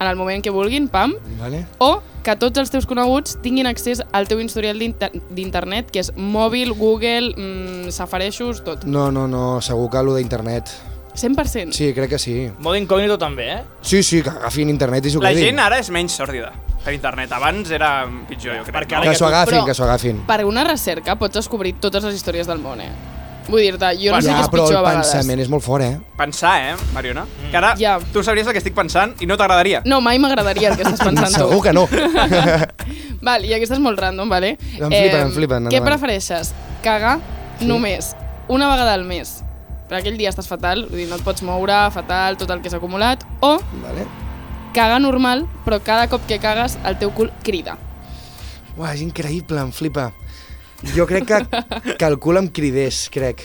Speaker 4: en el moment que vulguin, pam,
Speaker 3: Vale?
Speaker 4: o que tots els teus coneguts tinguin accés al teu historial d'inter- d'internet, que és mòbil, Google, mm, safareixos, tot.
Speaker 3: No, no, no, segur que allò d'internet.
Speaker 4: 100%.
Speaker 3: Sí, crec que sí.
Speaker 5: Modo incògnito també, eh?
Speaker 3: Sí, sí, que agafin internet i s'ho
Speaker 2: La
Speaker 3: quedin.
Speaker 2: gent ara és menys sòrdida per internet. Abans era pitjor, jo crec.
Speaker 5: Perquè
Speaker 2: no?
Speaker 5: ara
Speaker 3: Que s'ho agafin,
Speaker 4: Però-
Speaker 3: que s'ho agafin.
Speaker 4: Per una recerca pots descobrir totes les històries del món, eh? Vull dir-te, jo no sé què
Speaker 3: ja,
Speaker 4: és
Speaker 3: però el
Speaker 4: pitjor a vegades.
Speaker 3: pensament és molt fort, eh?
Speaker 2: Pensar, eh, Mariona? Que ara
Speaker 4: Ja.
Speaker 2: tu sabries el que estic pensant i no t'agradaria.
Speaker 4: No, mai m'agradaria el que estàs pensant tu.
Speaker 3: Segur que no.
Speaker 4: Val, i aquesta és molt random, vale?
Speaker 3: Em flipen, em flipen,
Speaker 4: Què
Speaker 3: endavant.
Speaker 4: prefereixes? Cagar només una vegada al mes, per aquell dia estàs fatal, vull dir, no et pots moure, fatal, tot el que s'ha acumulat, o
Speaker 3: vale?
Speaker 4: cagar normal, però cada cop que cagues el teu cul crida.
Speaker 3: Uah, és increïble, em flipa. Jo crec que calcula em cridés, crec.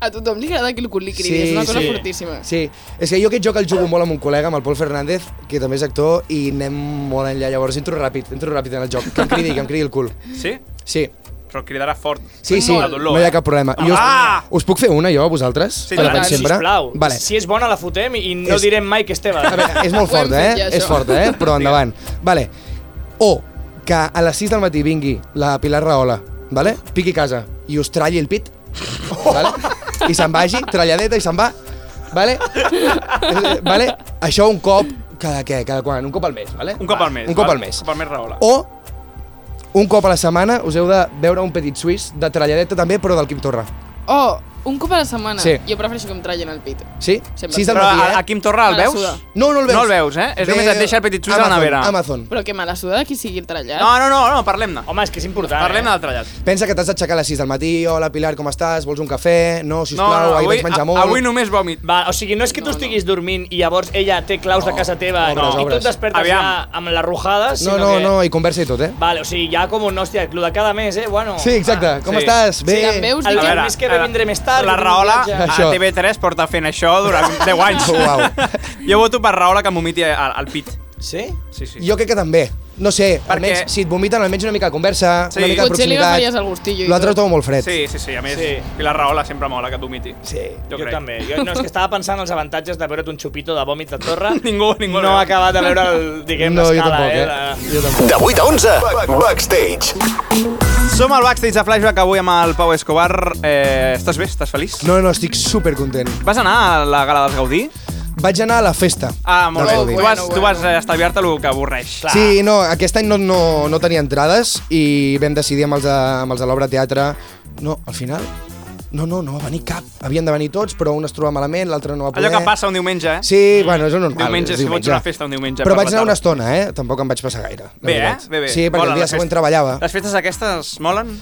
Speaker 4: A tothom li agrada que el cul li cridi,
Speaker 3: Sí,
Speaker 4: és una cosa
Speaker 5: sí.
Speaker 4: fortíssima.
Speaker 3: Sí, és que jo aquest joc el jugo molt amb un col·lega, amb el Pol Fernández, que també és actor, i anem molt enllà, llavors entro ràpid, entro ràpid en el joc, que em cridi, que em cridi el cul.
Speaker 4: Mm.
Speaker 2: Sí?
Speaker 3: Sí,
Speaker 2: Però cridarà fort.
Speaker 3: sí, sí,
Speaker 2: De dolor,
Speaker 3: no hi
Speaker 2: eh?
Speaker 3: ha cap problema. I us,
Speaker 2: Ah!
Speaker 3: us puc fer una jo a vosaltres?
Speaker 2: Sí,
Speaker 3: Per
Speaker 2: tant,
Speaker 3: abans sempre?
Speaker 5: Sisplau,
Speaker 3: Vale.
Speaker 5: si és bona la fotem i no
Speaker 3: És-
Speaker 5: direm mai que és teva.
Speaker 3: A veure, és molt
Speaker 4: Ho hem
Speaker 3: forta,
Speaker 4: fet
Speaker 3: eh?
Speaker 4: ja,
Speaker 3: és
Speaker 4: això.
Speaker 3: forta, eh? Però endavant. Vale. O que a les 6 del matí vingui la Pilar Rahola, vale? piqui a casa i us tralli el pit, vale? i se'n vagi, tralladeta i se'n va, vale? Eh, vale? Això un cop cada què? Cada quan? Un cop al mes, vale?
Speaker 2: Un cop al mes.
Speaker 3: Un cop
Speaker 2: val?
Speaker 3: al mes.
Speaker 2: Un cop al mes, Rahola.
Speaker 3: O un cop a la setmana us heu de veure un petit suís de tralladeta també, però del Quim Torra.
Speaker 4: O un cop a la setmana,
Speaker 3: Sí.
Speaker 4: jo prefereixo que em tragin el pit.
Speaker 3: Sí?
Speaker 4: Sempre.
Speaker 3: 6 del
Speaker 2: Però
Speaker 3: matí, eh?
Speaker 2: a, a Quim Torra el
Speaker 4: Me la
Speaker 2: veus?
Speaker 4: suda.
Speaker 3: No, no el veus.
Speaker 2: No el veus, eh? És només et deixa el petit suís a la
Speaker 3: Amazon,
Speaker 2: nevera.
Speaker 3: Amazon.
Speaker 4: Però que me la suda qui sigui el trallat.
Speaker 2: No, no, no, no parlem-ne.
Speaker 5: Home, és que és important,
Speaker 2: Parlem
Speaker 5: eh?
Speaker 2: del trallat.
Speaker 3: Pensa que t'has d'aixecar a les 6 del matí, hola Pilar, com estàs, vols un cafè, no,
Speaker 2: No,
Speaker 3: sisplau,
Speaker 2: no,
Speaker 3: ahir
Speaker 2: avui,
Speaker 3: vaig menjar
Speaker 2: a-
Speaker 3: molt.
Speaker 2: avui només vòmit.
Speaker 5: Va, o sigui, no és que tu estiguis dormint i llavors ella té claus de casa teva
Speaker 3: obres,
Speaker 5: i tu
Speaker 3: obres.
Speaker 5: et despertes
Speaker 2: Aviam.
Speaker 5: ja amb les rojades,
Speaker 3: No,
Speaker 5: sinó
Speaker 3: no,
Speaker 5: que...
Speaker 3: no, i conversa i tot, eh?
Speaker 5: Vale, o sigui, ja com un, hòstia, el de cada mes, eh? Bueno,
Speaker 3: Sí, exacte, com
Speaker 2: sí.
Speaker 3: estàs? Bé.
Speaker 4: Si em veus,
Speaker 5: El
Speaker 4: dic
Speaker 5: que
Speaker 4: que...
Speaker 5: veure. més que ve
Speaker 2: a la-
Speaker 5: vindré més tard,
Speaker 2: La
Speaker 5: que
Speaker 2: Rahola
Speaker 5: vindré
Speaker 3: viatge.
Speaker 2: a TV3 porta fent això durant 10 anys.
Speaker 3: Uau.
Speaker 2: Jo voto per Rahola que em vomiti al, al pit.
Speaker 5: Ah, sí?
Speaker 2: Sí, sí.
Speaker 3: Jo crec que també. No sé,
Speaker 2: Perquè-
Speaker 3: almenys si et vomiten, almenys una mica de conversa,
Speaker 2: Sí.
Speaker 3: una mica de
Speaker 4: Potser li agafaries
Speaker 3: proximitat.
Speaker 4: el gustillo. i
Speaker 3: L'altre ho
Speaker 4: tot.
Speaker 3: trobo molt fred.
Speaker 2: Sí, sí, sí. A més,
Speaker 5: Sí.
Speaker 2: i la Rahola sempre mola que et vomiti.
Speaker 3: Sí.
Speaker 5: Jo,
Speaker 2: Jo, crec.
Speaker 5: també. Jo, no, és que estava pensant en els avantatges de veure't un xupito de vòmit de torre.
Speaker 2: Ningú- ningú el
Speaker 5: No
Speaker 2: veu.
Speaker 5: ha acabat de veure, el, diguem,
Speaker 3: No, jo
Speaker 5: l'escala,
Speaker 3: tampoc,
Speaker 5: eh?
Speaker 3: eh? Jo tampoc.
Speaker 1: De 8 a 11, Backstage.
Speaker 2: Som al backstage de Flashback avui amb el Pau Escobar. Eh, estàs bé? Estàs feliç?
Speaker 3: No, no, estic supercontent.
Speaker 2: Vas anar a la gala dels Gaudí?
Speaker 3: Vaig anar a la festa.
Speaker 2: Ah, molt
Speaker 3: del
Speaker 2: bé.
Speaker 3: Gaudí.
Speaker 2: tu,
Speaker 4: Bueno,
Speaker 2: vas, tu
Speaker 4: bueno.
Speaker 2: vas eh, estalviar-te el que avorreix.
Speaker 5: Clar.
Speaker 3: Sí, no, aquest any no, no, no tenia entrades i vam decidir amb els de, amb els de l'obra teatre... No, al final... No, no, no va venir cap. Havien de venir tots, però un es trobava malament, l'altre no va poder.
Speaker 2: Allò que passa un diumenge, eh?
Speaker 3: Sí, bueno, és normal.
Speaker 2: Diumenge,
Speaker 3: és
Speaker 2: si fots una festa un diumenge
Speaker 3: Però
Speaker 2: per la
Speaker 3: vaig anar
Speaker 2: tarda.
Speaker 3: una estona, eh? Tampoc em vaig passar gaire. la
Speaker 2: Bé, eh?
Speaker 3: veritat.
Speaker 2: Bé, bé.
Speaker 3: Sí, perquè
Speaker 2: Mola,
Speaker 3: el dia
Speaker 2: les
Speaker 3: següent
Speaker 2: festes-
Speaker 3: treballava.
Speaker 2: Les festes aquestes molen?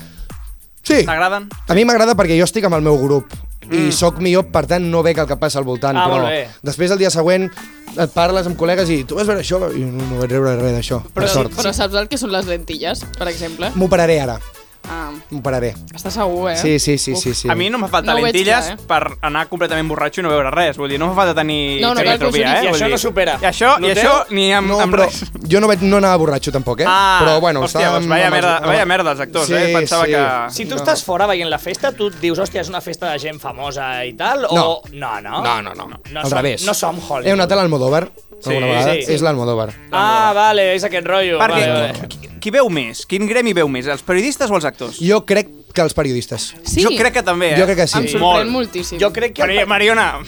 Speaker 3: Sí.
Speaker 2: T'agraden?
Speaker 3: A mi m'agrada perquè jo estic amb el meu grup
Speaker 2: Mm.
Speaker 3: i sóc millor, per tant no veig el que passa al voltant.
Speaker 5: Ah,
Speaker 3: però
Speaker 5: molt bé.
Speaker 3: després el dia següent et parles amb col·legues i tu vas veure això i no, no vaig veure res d'això. Per
Speaker 4: Però,
Speaker 3: sort.
Speaker 4: però saps el que són les lentilles, per exemple?
Speaker 3: M'ho pararé ara.
Speaker 4: Ah,
Speaker 3: M'ho pararé.
Speaker 4: està segur, eh?
Speaker 3: Sí, sí, sí, sí, sí.
Speaker 2: A mi no em fa falta
Speaker 4: No ho
Speaker 2: no
Speaker 4: veig
Speaker 2: lentilles
Speaker 4: clar, eh?
Speaker 2: per anar completament borratxo i no veure res. Vull dir, no em fa falta tenir
Speaker 4: No, no, cal
Speaker 2: hipertrofia,
Speaker 4: que us
Speaker 2: eh? Vull
Speaker 5: I això no
Speaker 2: dir,
Speaker 5: s'opera.
Speaker 2: I això, i
Speaker 5: Noteu?
Speaker 2: això ni amb,
Speaker 3: No,
Speaker 2: amb
Speaker 3: però
Speaker 2: res.
Speaker 3: jo no, vaig, no anava borratxo tampoc, eh?
Speaker 2: Ah,
Speaker 3: però bueno,
Speaker 2: hòstia,
Speaker 3: estàvem
Speaker 2: doncs vaya
Speaker 3: amb els-
Speaker 2: merda-
Speaker 3: amb-
Speaker 2: vaya merda els actors, eh? Pensava que-
Speaker 5: Si
Speaker 3: No.
Speaker 5: tu estàs fora veient la festa, tu et dius, hòstia, és una festa de gent famosa i tal,
Speaker 3: No.
Speaker 5: o... No, no.
Speaker 3: No, no, no.
Speaker 5: no
Speaker 3: Al
Speaker 5: som,
Speaker 3: revés.
Speaker 5: No som Hollywood.
Speaker 3: He anat a l'Almodóvar, alguna
Speaker 2: Sí,
Speaker 3: vegada.
Speaker 5: sí.
Speaker 3: És l'Almodóvar.
Speaker 5: Ah, vale, és aquest rotllo.
Speaker 2: Perquè
Speaker 5: Vale, vale.
Speaker 2: qui, qui veu més? Quin gremi veu més? Els periodistes o els actors?
Speaker 3: Jo crec que els periodistes.
Speaker 4: Sí.
Speaker 2: Jo crec que també, eh?
Speaker 3: Jo crec que sí.
Speaker 4: Em
Speaker 2: Sí.
Speaker 4: sorprèn
Speaker 2: Molt.
Speaker 4: moltíssim.
Speaker 5: Jo crec que...
Speaker 2: Mari Mariona,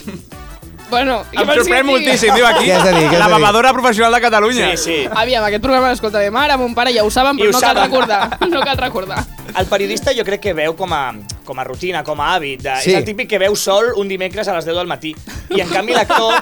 Speaker 4: Bueno, i
Speaker 2: Em
Speaker 4: per si
Speaker 2: sorprèn
Speaker 4: et digui-
Speaker 2: moltíssim, eh? diu aquí.
Speaker 3: Què has de dir, què has
Speaker 2: la
Speaker 3: de dir?
Speaker 2: bevedora professional de Catalunya.
Speaker 5: Sí, sí.
Speaker 4: Aviam, aquest programa l'escolta de mare, mon pare ja ho saben,
Speaker 5: I
Speaker 4: però
Speaker 5: ho
Speaker 4: no cal
Speaker 5: saben.
Speaker 4: recordar. No cal recordar.
Speaker 5: El periodista jo crec que veu com a, com a rutina, com a hàbit. De,
Speaker 3: Sí.
Speaker 5: És el típic que veu sol un dimecres a les 10 del matí. I en canvi l'actor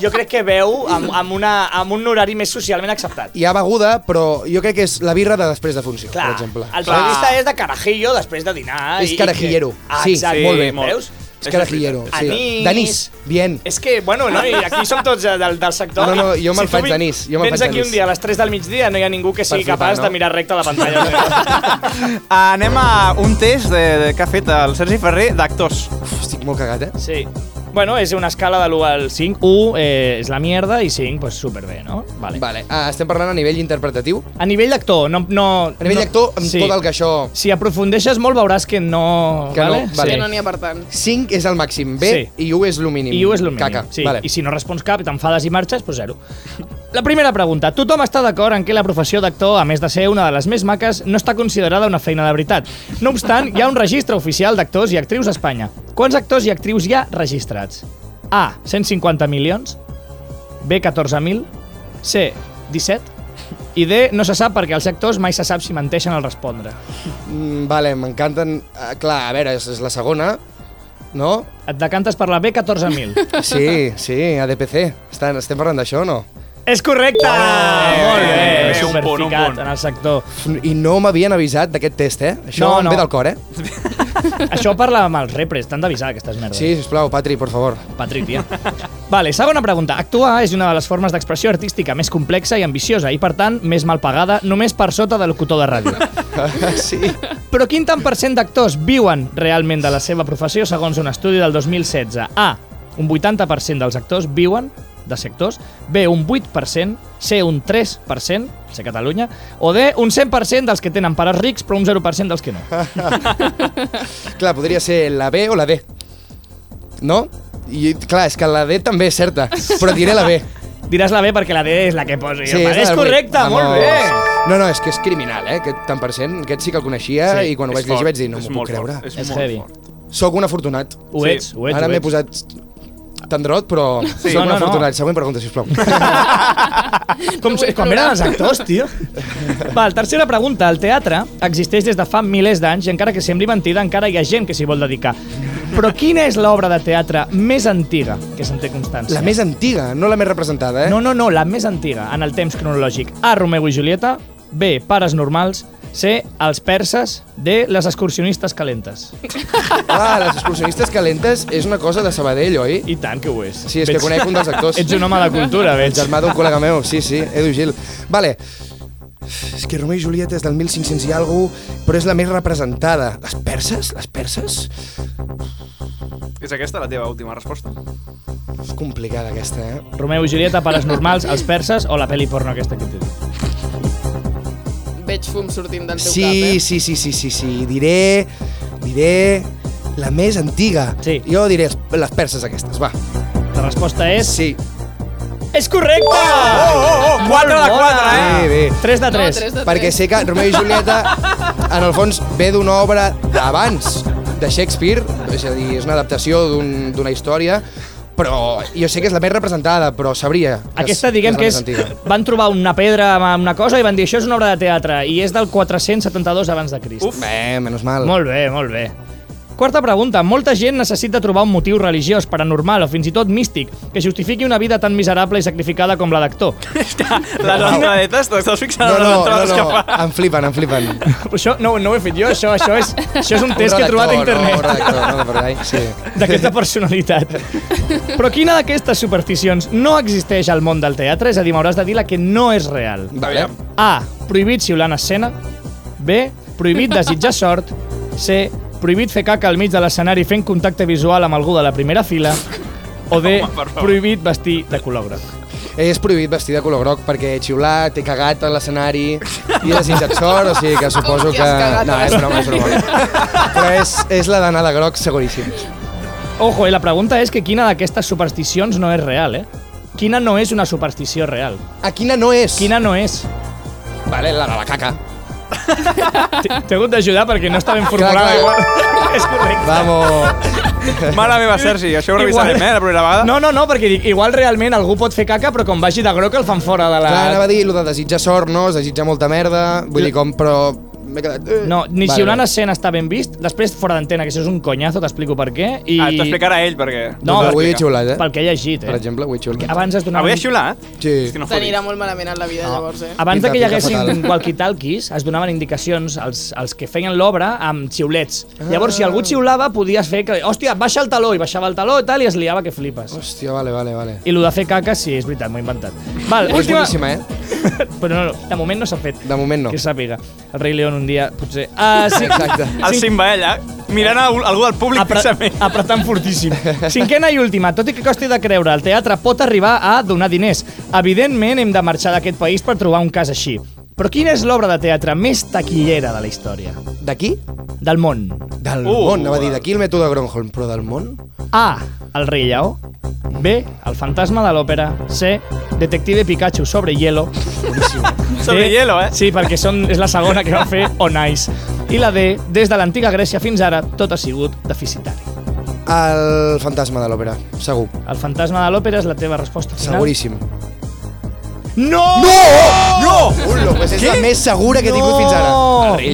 Speaker 5: jo crec que veu amb, amb, una, amb un horari més socialment acceptat.
Speaker 3: Hi ha beguda, però jo crec que és la birra de després de funció,
Speaker 5: Clar,
Speaker 3: per exemple.
Speaker 5: el
Speaker 2: Clar.
Speaker 5: periodista és de carajillo després de dinar.
Speaker 3: És
Speaker 5: i- i
Speaker 3: carajillero.
Speaker 5: que- Ah,
Speaker 3: Sí,
Speaker 5: exacte,
Speaker 3: molt bé.
Speaker 5: Veus?
Speaker 3: És carajillero, sí.
Speaker 5: Anís.
Speaker 3: Danís, bien.
Speaker 5: És que, bueno, no, i aquí som tots eh, del, del sector.
Speaker 3: No, no, jo me'l
Speaker 5: tu
Speaker 3: faig
Speaker 5: vi-
Speaker 3: d'anís, jo me'l
Speaker 5: vens
Speaker 3: faig
Speaker 5: aquí
Speaker 3: d'anís.
Speaker 5: un dia a les 3 del migdia no hi ha ningú que sigui
Speaker 3: flipar,
Speaker 5: capaç
Speaker 3: no?
Speaker 5: de mirar recte la pantalla.
Speaker 2: Ah, Anem a un test de, de, que ha fet el Sergi Ferrer d'actors.
Speaker 3: Uf, estic molt cagat, eh?
Speaker 5: sí. Bueno, és una escala de l'1 al 5. 1 eh, és la mierda i 5, pues superbé, no? Vale.
Speaker 3: Vale, ah, estem parlant a nivell interpretatiu.
Speaker 5: A nivell d'actor, no, no...
Speaker 3: A nivell
Speaker 5: no,
Speaker 3: d'actor, amb tot el que això...
Speaker 5: Si aprofundeixes molt veuràs que no...
Speaker 3: Que no,
Speaker 5: vale?
Speaker 3: vale.
Speaker 4: Que no n'hi ha per tant.
Speaker 3: 5 és el màxim, B,
Speaker 5: Sí.
Speaker 3: i 1 és el mínim.
Speaker 5: I ho és el mínim.
Speaker 3: Caca,
Speaker 5: sí.
Speaker 3: vale.
Speaker 5: I si no respons cap, t'enfades i marxes, doncs zero. La primera pregunta. Tothom està d'acord en que la professió d'actor, a més de ser una de les més maques, no està considerada una feina de veritat. No obstant, hi ha un registre oficial d'actors i actrius a Espanya. Quants actors i actrius hi ha registrats? A. 150 milions B. 14.000 C. 17 i D. No se sap perquè els actors mai se sap si menteixen al respondre.
Speaker 3: Mm, vale, m'encanten... Ah, clar, a veure, és, és la segona, no?
Speaker 5: Et decantes per la B. 14.000.
Speaker 3: Sí, sí, ADPC. Estan, estem parlant d'això o no?
Speaker 5: És correcte! Molt bé,
Speaker 2: bé, un punt, un
Speaker 5: superficat
Speaker 2: punt.
Speaker 5: en el sector.
Speaker 3: I no m'havien avisat d'aquest test, eh? Això
Speaker 5: No,
Speaker 3: em
Speaker 5: no.
Speaker 3: ve del cor, eh?
Speaker 5: Això parla amb els repres, t'han d'avisar aquestes merdes.
Speaker 3: Sí, sisplau, Patri, por favor.
Speaker 5: Patri, tia. Vale, segona pregunta. Actuar és una de les formes d'expressió artística més complexa i ambiciosa i, per tant, més mal pagada només per sota del locutor de ràdio.
Speaker 3: sí.
Speaker 5: Però quin tant per cent d'actors viuen realment de la seva professió segons un estudi del 2016? A. Un 80% dels actors viuen de sectors, B, un 8%, C, un 3%, ser Catalunya, o D, un 100% dels que tenen pares rics, però un 0% dels que no.
Speaker 3: Clar, podria ser la B o la D. No? I clar, és que la D també és certa, però diré la B.
Speaker 5: Diràs la B perquè la D és la que poso jo.
Speaker 3: és la
Speaker 5: és,
Speaker 3: del vuit.
Speaker 5: correcta,
Speaker 3: Vamos.
Speaker 5: molt bé.
Speaker 3: No, no, és que és criminal, eh? Aquest tant per cent, aquest sí que el coneixia
Speaker 5: Sí,
Speaker 3: i quan ho
Speaker 2: És
Speaker 3: vaig llegir
Speaker 2: fort,
Speaker 3: vaig dir, no
Speaker 2: és
Speaker 3: m'ho
Speaker 2: molt
Speaker 3: puc creure.
Speaker 2: Fort, és,
Speaker 5: És
Speaker 2: molt
Speaker 5: heavy.
Speaker 2: fort.
Speaker 3: Sóc un afortunat.
Speaker 5: Ho
Speaker 2: Sí.
Speaker 5: ets, ho ets,
Speaker 3: Ara
Speaker 5: ho
Speaker 3: m'he
Speaker 5: ets.
Speaker 3: posat tendrot, però sí,
Speaker 5: No,
Speaker 3: sóc un
Speaker 5: no, no.
Speaker 3: afortunat. Següent pregunta, sisplau.
Speaker 5: Com, se- com eren els actors, tio? Val, tercera pregunta. El teatre existeix des de fa milers d'anys i encara que sembli mentida, encara hi ha gent que s'hi vol dedicar. Però quina és l'obra de teatre més antiga que se'n té constància?
Speaker 3: La més antiga, no la més representada, eh?
Speaker 5: No, no, no, la més antiga, en el temps cronològic. A, Romeu i Julieta, B, Pares normals, C, Els perses, D, Les excursionistes calentes.
Speaker 3: Ah, les excursionistes calentes és una cosa de Sabadell, oi?
Speaker 5: I tant que ho és.
Speaker 3: Sí, és que
Speaker 5: Veig-
Speaker 3: conec un dels actors.
Speaker 5: Ets un home de cultura,
Speaker 3: El
Speaker 5: veig.
Speaker 3: germà d'un col·lega meu, sí, sí, Edu Gil. Vale. És que Romeo i Julieta és del 1500 i algo, però és la més representada. Les perses? Les perses?
Speaker 2: És aquesta la teva última resposta?
Speaker 3: És complicada aquesta, eh?
Speaker 5: Romeu i Julieta, Pares normals, Els perses o la peli porno aquesta que t'he dit.
Speaker 4: Veig fum sortint del teu
Speaker 3: Sí,
Speaker 4: cap, eh?
Speaker 3: sí, sí, sí, sí, sí. Diré, diré la més antiga.
Speaker 5: Sí.
Speaker 3: Jo diré es- les perses aquestes, va.
Speaker 5: La resposta és...
Speaker 3: Sí.
Speaker 5: És correcte! Oh, oh, oh, 4 de 4,
Speaker 3: eh? Bé, bé.
Speaker 5: 3 de
Speaker 4: eh?
Speaker 5: 3.
Speaker 4: tres de
Speaker 3: Perquè
Speaker 4: tres.
Speaker 3: sé que Romeo i Julieta, en el fons, ve d'una obra d'abans de Shakespeare, és a dir, és una adaptació d'un- d'una història, però jo sé que és la més representada, però sabria que
Speaker 5: Aquesta,
Speaker 3: és,
Speaker 5: diguem que és...
Speaker 3: la més antiga.
Speaker 5: Van trobar una pedra amb una cosa i van dir això és una obra de teatre i és del 472 abans de Crist.
Speaker 2: Uf.
Speaker 3: Bé, menys mal.
Speaker 5: Molt bé, molt bé. Quarta pregunta. Molta gent necessita trobar un motiu religiós, paranormal o fins i tot místic que justifiqui una vida tan miserable i sacrificada com la d'actor.
Speaker 2: Les entradetes, t'estàs fixant
Speaker 3: No,
Speaker 2: en les
Speaker 3: no, no,
Speaker 2: entrades que
Speaker 3: no,
Speaker 2: fa?
Speaker 3: em flipen, em flipen.
Speaker 5: Però això no, no ho he fet jo, això, això, és, això és un test que he trobat a internet.
Speaker 3: No, redactor, no, per ahí, sí.
Speaker 5: d'aquesta personalitat. Però quina d'aquestes supersticions no existeix al món del teatre? És a dir, m'hauràs de dir la que no és real.
Speaker 3: Vale.
Speaker 5: A. Prohibit xiular en escena. B. Prohibit desitjar sort. C. Prohibit fer caca al mig de l'escenari fent contacte visual amb algú de la primera fila. O D.
Speaker 2: Home, per favor.
Speaker 5: prohibit vestir de color groc.
Speaker 3: És prohibit vestir de color groc perquè he xiulat, he cagat a l'escenari i he desitjat sort, o sigui que suposo
Speaker 4: Hòstia,
Speaker 3: que...
Speaker 4: has cagat a
Speaker 3: No, és broma, és broma. Però és, és la d'anar de groc seguríssim.
Speaker 5: Ojo, i la pregunta és que quina d'aquestes supersticions no és real, eh? Quina no és una superstició real?
Speaker 3: A quina no és?
Speaker 5: Quina no és?
Speaker 3: Vale, la de la caca.
Speaker 5: T'he t'he hagut d'ajudar perquè no està ben formulada.
Speaker 3: clar.
Speaker 5: igual. és correcte.
Speaker 3: Vamos.
Speaker 2: Mare meva, Sergi, això ho revisarem, eh, la primera vegada.
Speaker 5: No, no, no, perquè dic, igual realment algú pot fer caca, però com vagi de groc el fan fora de la...
Speaker 3: Clar, anava a dir, lo de desitjar sort, no? Es desitja molta merda, vull dir com, però... M'he quedat... eh.
Speaker 5: No, ni
Speaker 3: Vale,
Speaker 5: si una
Speaker 3: vale.
Speaker 5: escena està ben vist, després fora d'antena, que això és un conyazo, t'explico per què. I...
Speaker 2: Ah, t'ho explicarà ell, perquè...
Speaker 5: No,
Speaker 3: Doncs
Speaker 5: perquè-
Speaker 3: avui he xiulat, eh?
Speaker 5: Pel que he llegit, eh?
Speaker 3: Per exemple, avui he xiulat.
Speaker 5: Abans es donava...
Speaker 2: Avui has Ah, xiulat?
Speaker 3: Sí.
Speaker 2: És que no
Speaker 4: T'anirà
Speaker 2: fotis.
Speaker 4: molt malament en la vida, llavors, eh?
Speaker 5: Abans de
Speaker 3: Pinta-
Speaker 5: que hi
Speaker 3: pinta
Speaker 5: haguessin
Speaker 3: fatal.
Speaker 5: walkie-talkies, es donaven indicacions als, als que feien l'obra amb xiulets.
Speaker 3: Ah.
Speaker 5: Llavors, si algú xiulava, podies fer que... Hòstia, baixa el taló, i baixava el taló i tal, i es liava que flipes.
Speaker 3: Hòstia, vale, vale, vale.
Speaker 5: I lo de fer caca, sí, és veritat, m'ho he inventat. Val,
Speaker 3: És
Speaker 5: última...
Speaker 3: boníssima, eh?
Speaker 5: Però no, no, de moment no s'ha fet.
Speaker 3: De moment no.
Speaker 5: Que sàpiga. El rei León un dia, potser... Uh, sí,
Speaker 3: Exacte.
Speaker 2: El Simba, ella, mirant a algú del públic
Speaker 5: Apre
Speaker 2: fixament.
Speaker 5: apretant fortíssim. Cinquena i última. Tot i que costi de creure, el teatre pot arribar a donar diners. Evidentment, hem de marxar d'aquest país per trobar un cas així. Però quina és l'obra de teatre més taquillera de la història?
Speaker 3: D'aquí?
Speaker 5: Del món.
Speaker 3: Del
Speaker 2: Uh.
Speaker 3: món, anava a dir, d'aquí el mètode Gronholm, però del món?
Speaker 5: A. El rei lleó. B. El fantasma de l'òpera. C. Detective Pikachu sobre hielo.
Speaker 2: Sobre
Speaker 5: D.
Speaker 2: hielo, eh?
Speaker 5: Sí, perquè són, és la segona que va fer On Ice. I la D. Des de l'antiga Grècia fins ara, tot ha sigut deficitari.
Speaker 3: El fantasma de l'òpera, segur.
Speaker 5: El fantasma de l'òpera és la teva resposta final.
Speaker 3: Seguríssim.
Speaker 5: No!
Speaker 2: No!
Speaker 3: Ullo, pues és la més segura que he tingut fins ara.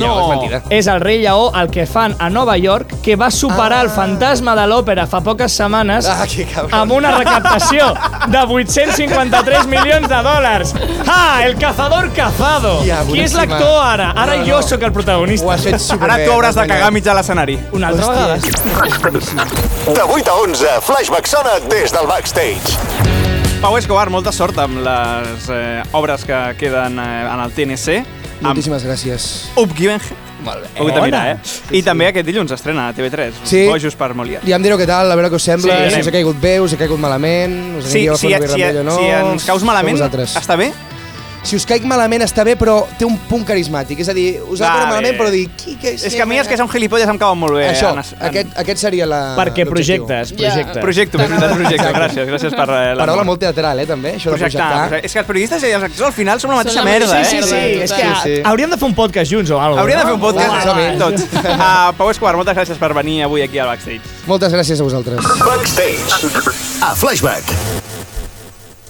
Speaker 5: No!
Speaker 2: no.
Speaker 5: És el rei lleó el que fan a Nova York que va superar
Speaker 3: Ah.
Speaker 5: el fantasma de l'òpera fa poques setmanes
Speaker 3: Ah, que cabrón.
Speaker 5: amb una recaptació de 853 milions de dòlars. Ah, el cazador cazado.
Speaker 3: Hòstia,
Speaker 5: Qui és
Speaker 3: boníssima.
Speaker 5: l'actor ara? Ara
Speaker 3: No, no.
Speaker 5: jo sóc el
Speaker 3: Ho
Speaker 5: protagonista.
Speaker 3: has fet superbé.
Speaker 2: Ara tu hauràs de
Speaker 3: Daniel.
Speaker 2: cagar mig a l'escenari.
Speaker 5: Una altra
Speaker 3: Hòstia.
Speaker 5: vegada.
Speaker 1: De 8 a 11, Flashback sona des del backstage.
Speaker 2: Pau Escobar, molta sort amb les eh, obres que queden eh, en el TNC. Amb
Speaker 3: Moltíssimes gràcies.
Speaker 2: Up Given Molt bé. Ho mirar, eh?
Speaker 5: Bona.
Speaker 2: I també aquest dilluns estrena a TV3.
Speaker 3: Sí.
Speaker 2: Bojos per Molière.
Speaker 3: Ja em direu què tal, a veure què us sembla,
Speaker 2: Sí,
Speaker 3: si
Speaker 2: anem.
Speaker 3: us ha caigut bé, us ha caigut malament, us
Speaker 2: Sí,
Speaker 3: anireu
Speaker 2: si,
Speaker 3: a fer
Speaker 2: si, si,
Speaker 3: o no.
Speaker 2: si ens caus
Speaker 3: som
Speaker 2: malament,
Speaker 3: vosaltres.
Speaker 2: està bé?
Speaker 3: Si us caic malament està bé, però té un punt carismàtic. És a dir, us ha
Speaker 2: Vale.
Speaker 3: caigut malament, però dir... Qui, que,
Speaker 2: És que a mi és que són gilipolles em cauen molt bé.
Speaker 3: Això,
Speaker 2: en- en-
Speaker 3: aquest, aquest seria la...
Speaker 5: Perquè
Speaker 3: l'objectiu.
Speaker 5: projectes,
Speaker 4: Ja.
Speaker 5: projectes.
Speaker 2: Projecto, és veritat, projecte. Gràcies, gràcies per... Eh, l'amor.
Speaker 3: Paraula molt teatral, eh, també, això de
Speaker 2: Projectar.
Speaker 3: projectar.
Speaker 2: És que els periodistes i els actors al final són la
Speaker 4: Són
Speaker 2: mateixa
Speaker 4: la
Speaker 2: merda,
Speaker 4: mateixa
Speaker 2: eh?
Speaker 5: Sí, sí,
Speaker 4: Merda,
Speaker 5: és que
Speaker 4: total.
Speaker 3: Sí, sí.
Speaker 5: hauríem de fer un podcast junts o alguna cosa.
Speaker 2: Hauria de fer un podcast
Speaker 3: Uau.
Speaker 2: amb tots. Uh, Pau Escobar, moltes gràcies per venir avui aquí al Backstage.
Speaker 3: Moltes gràcies a vosaltres.
Speaker 1: Backstage. A Flashback.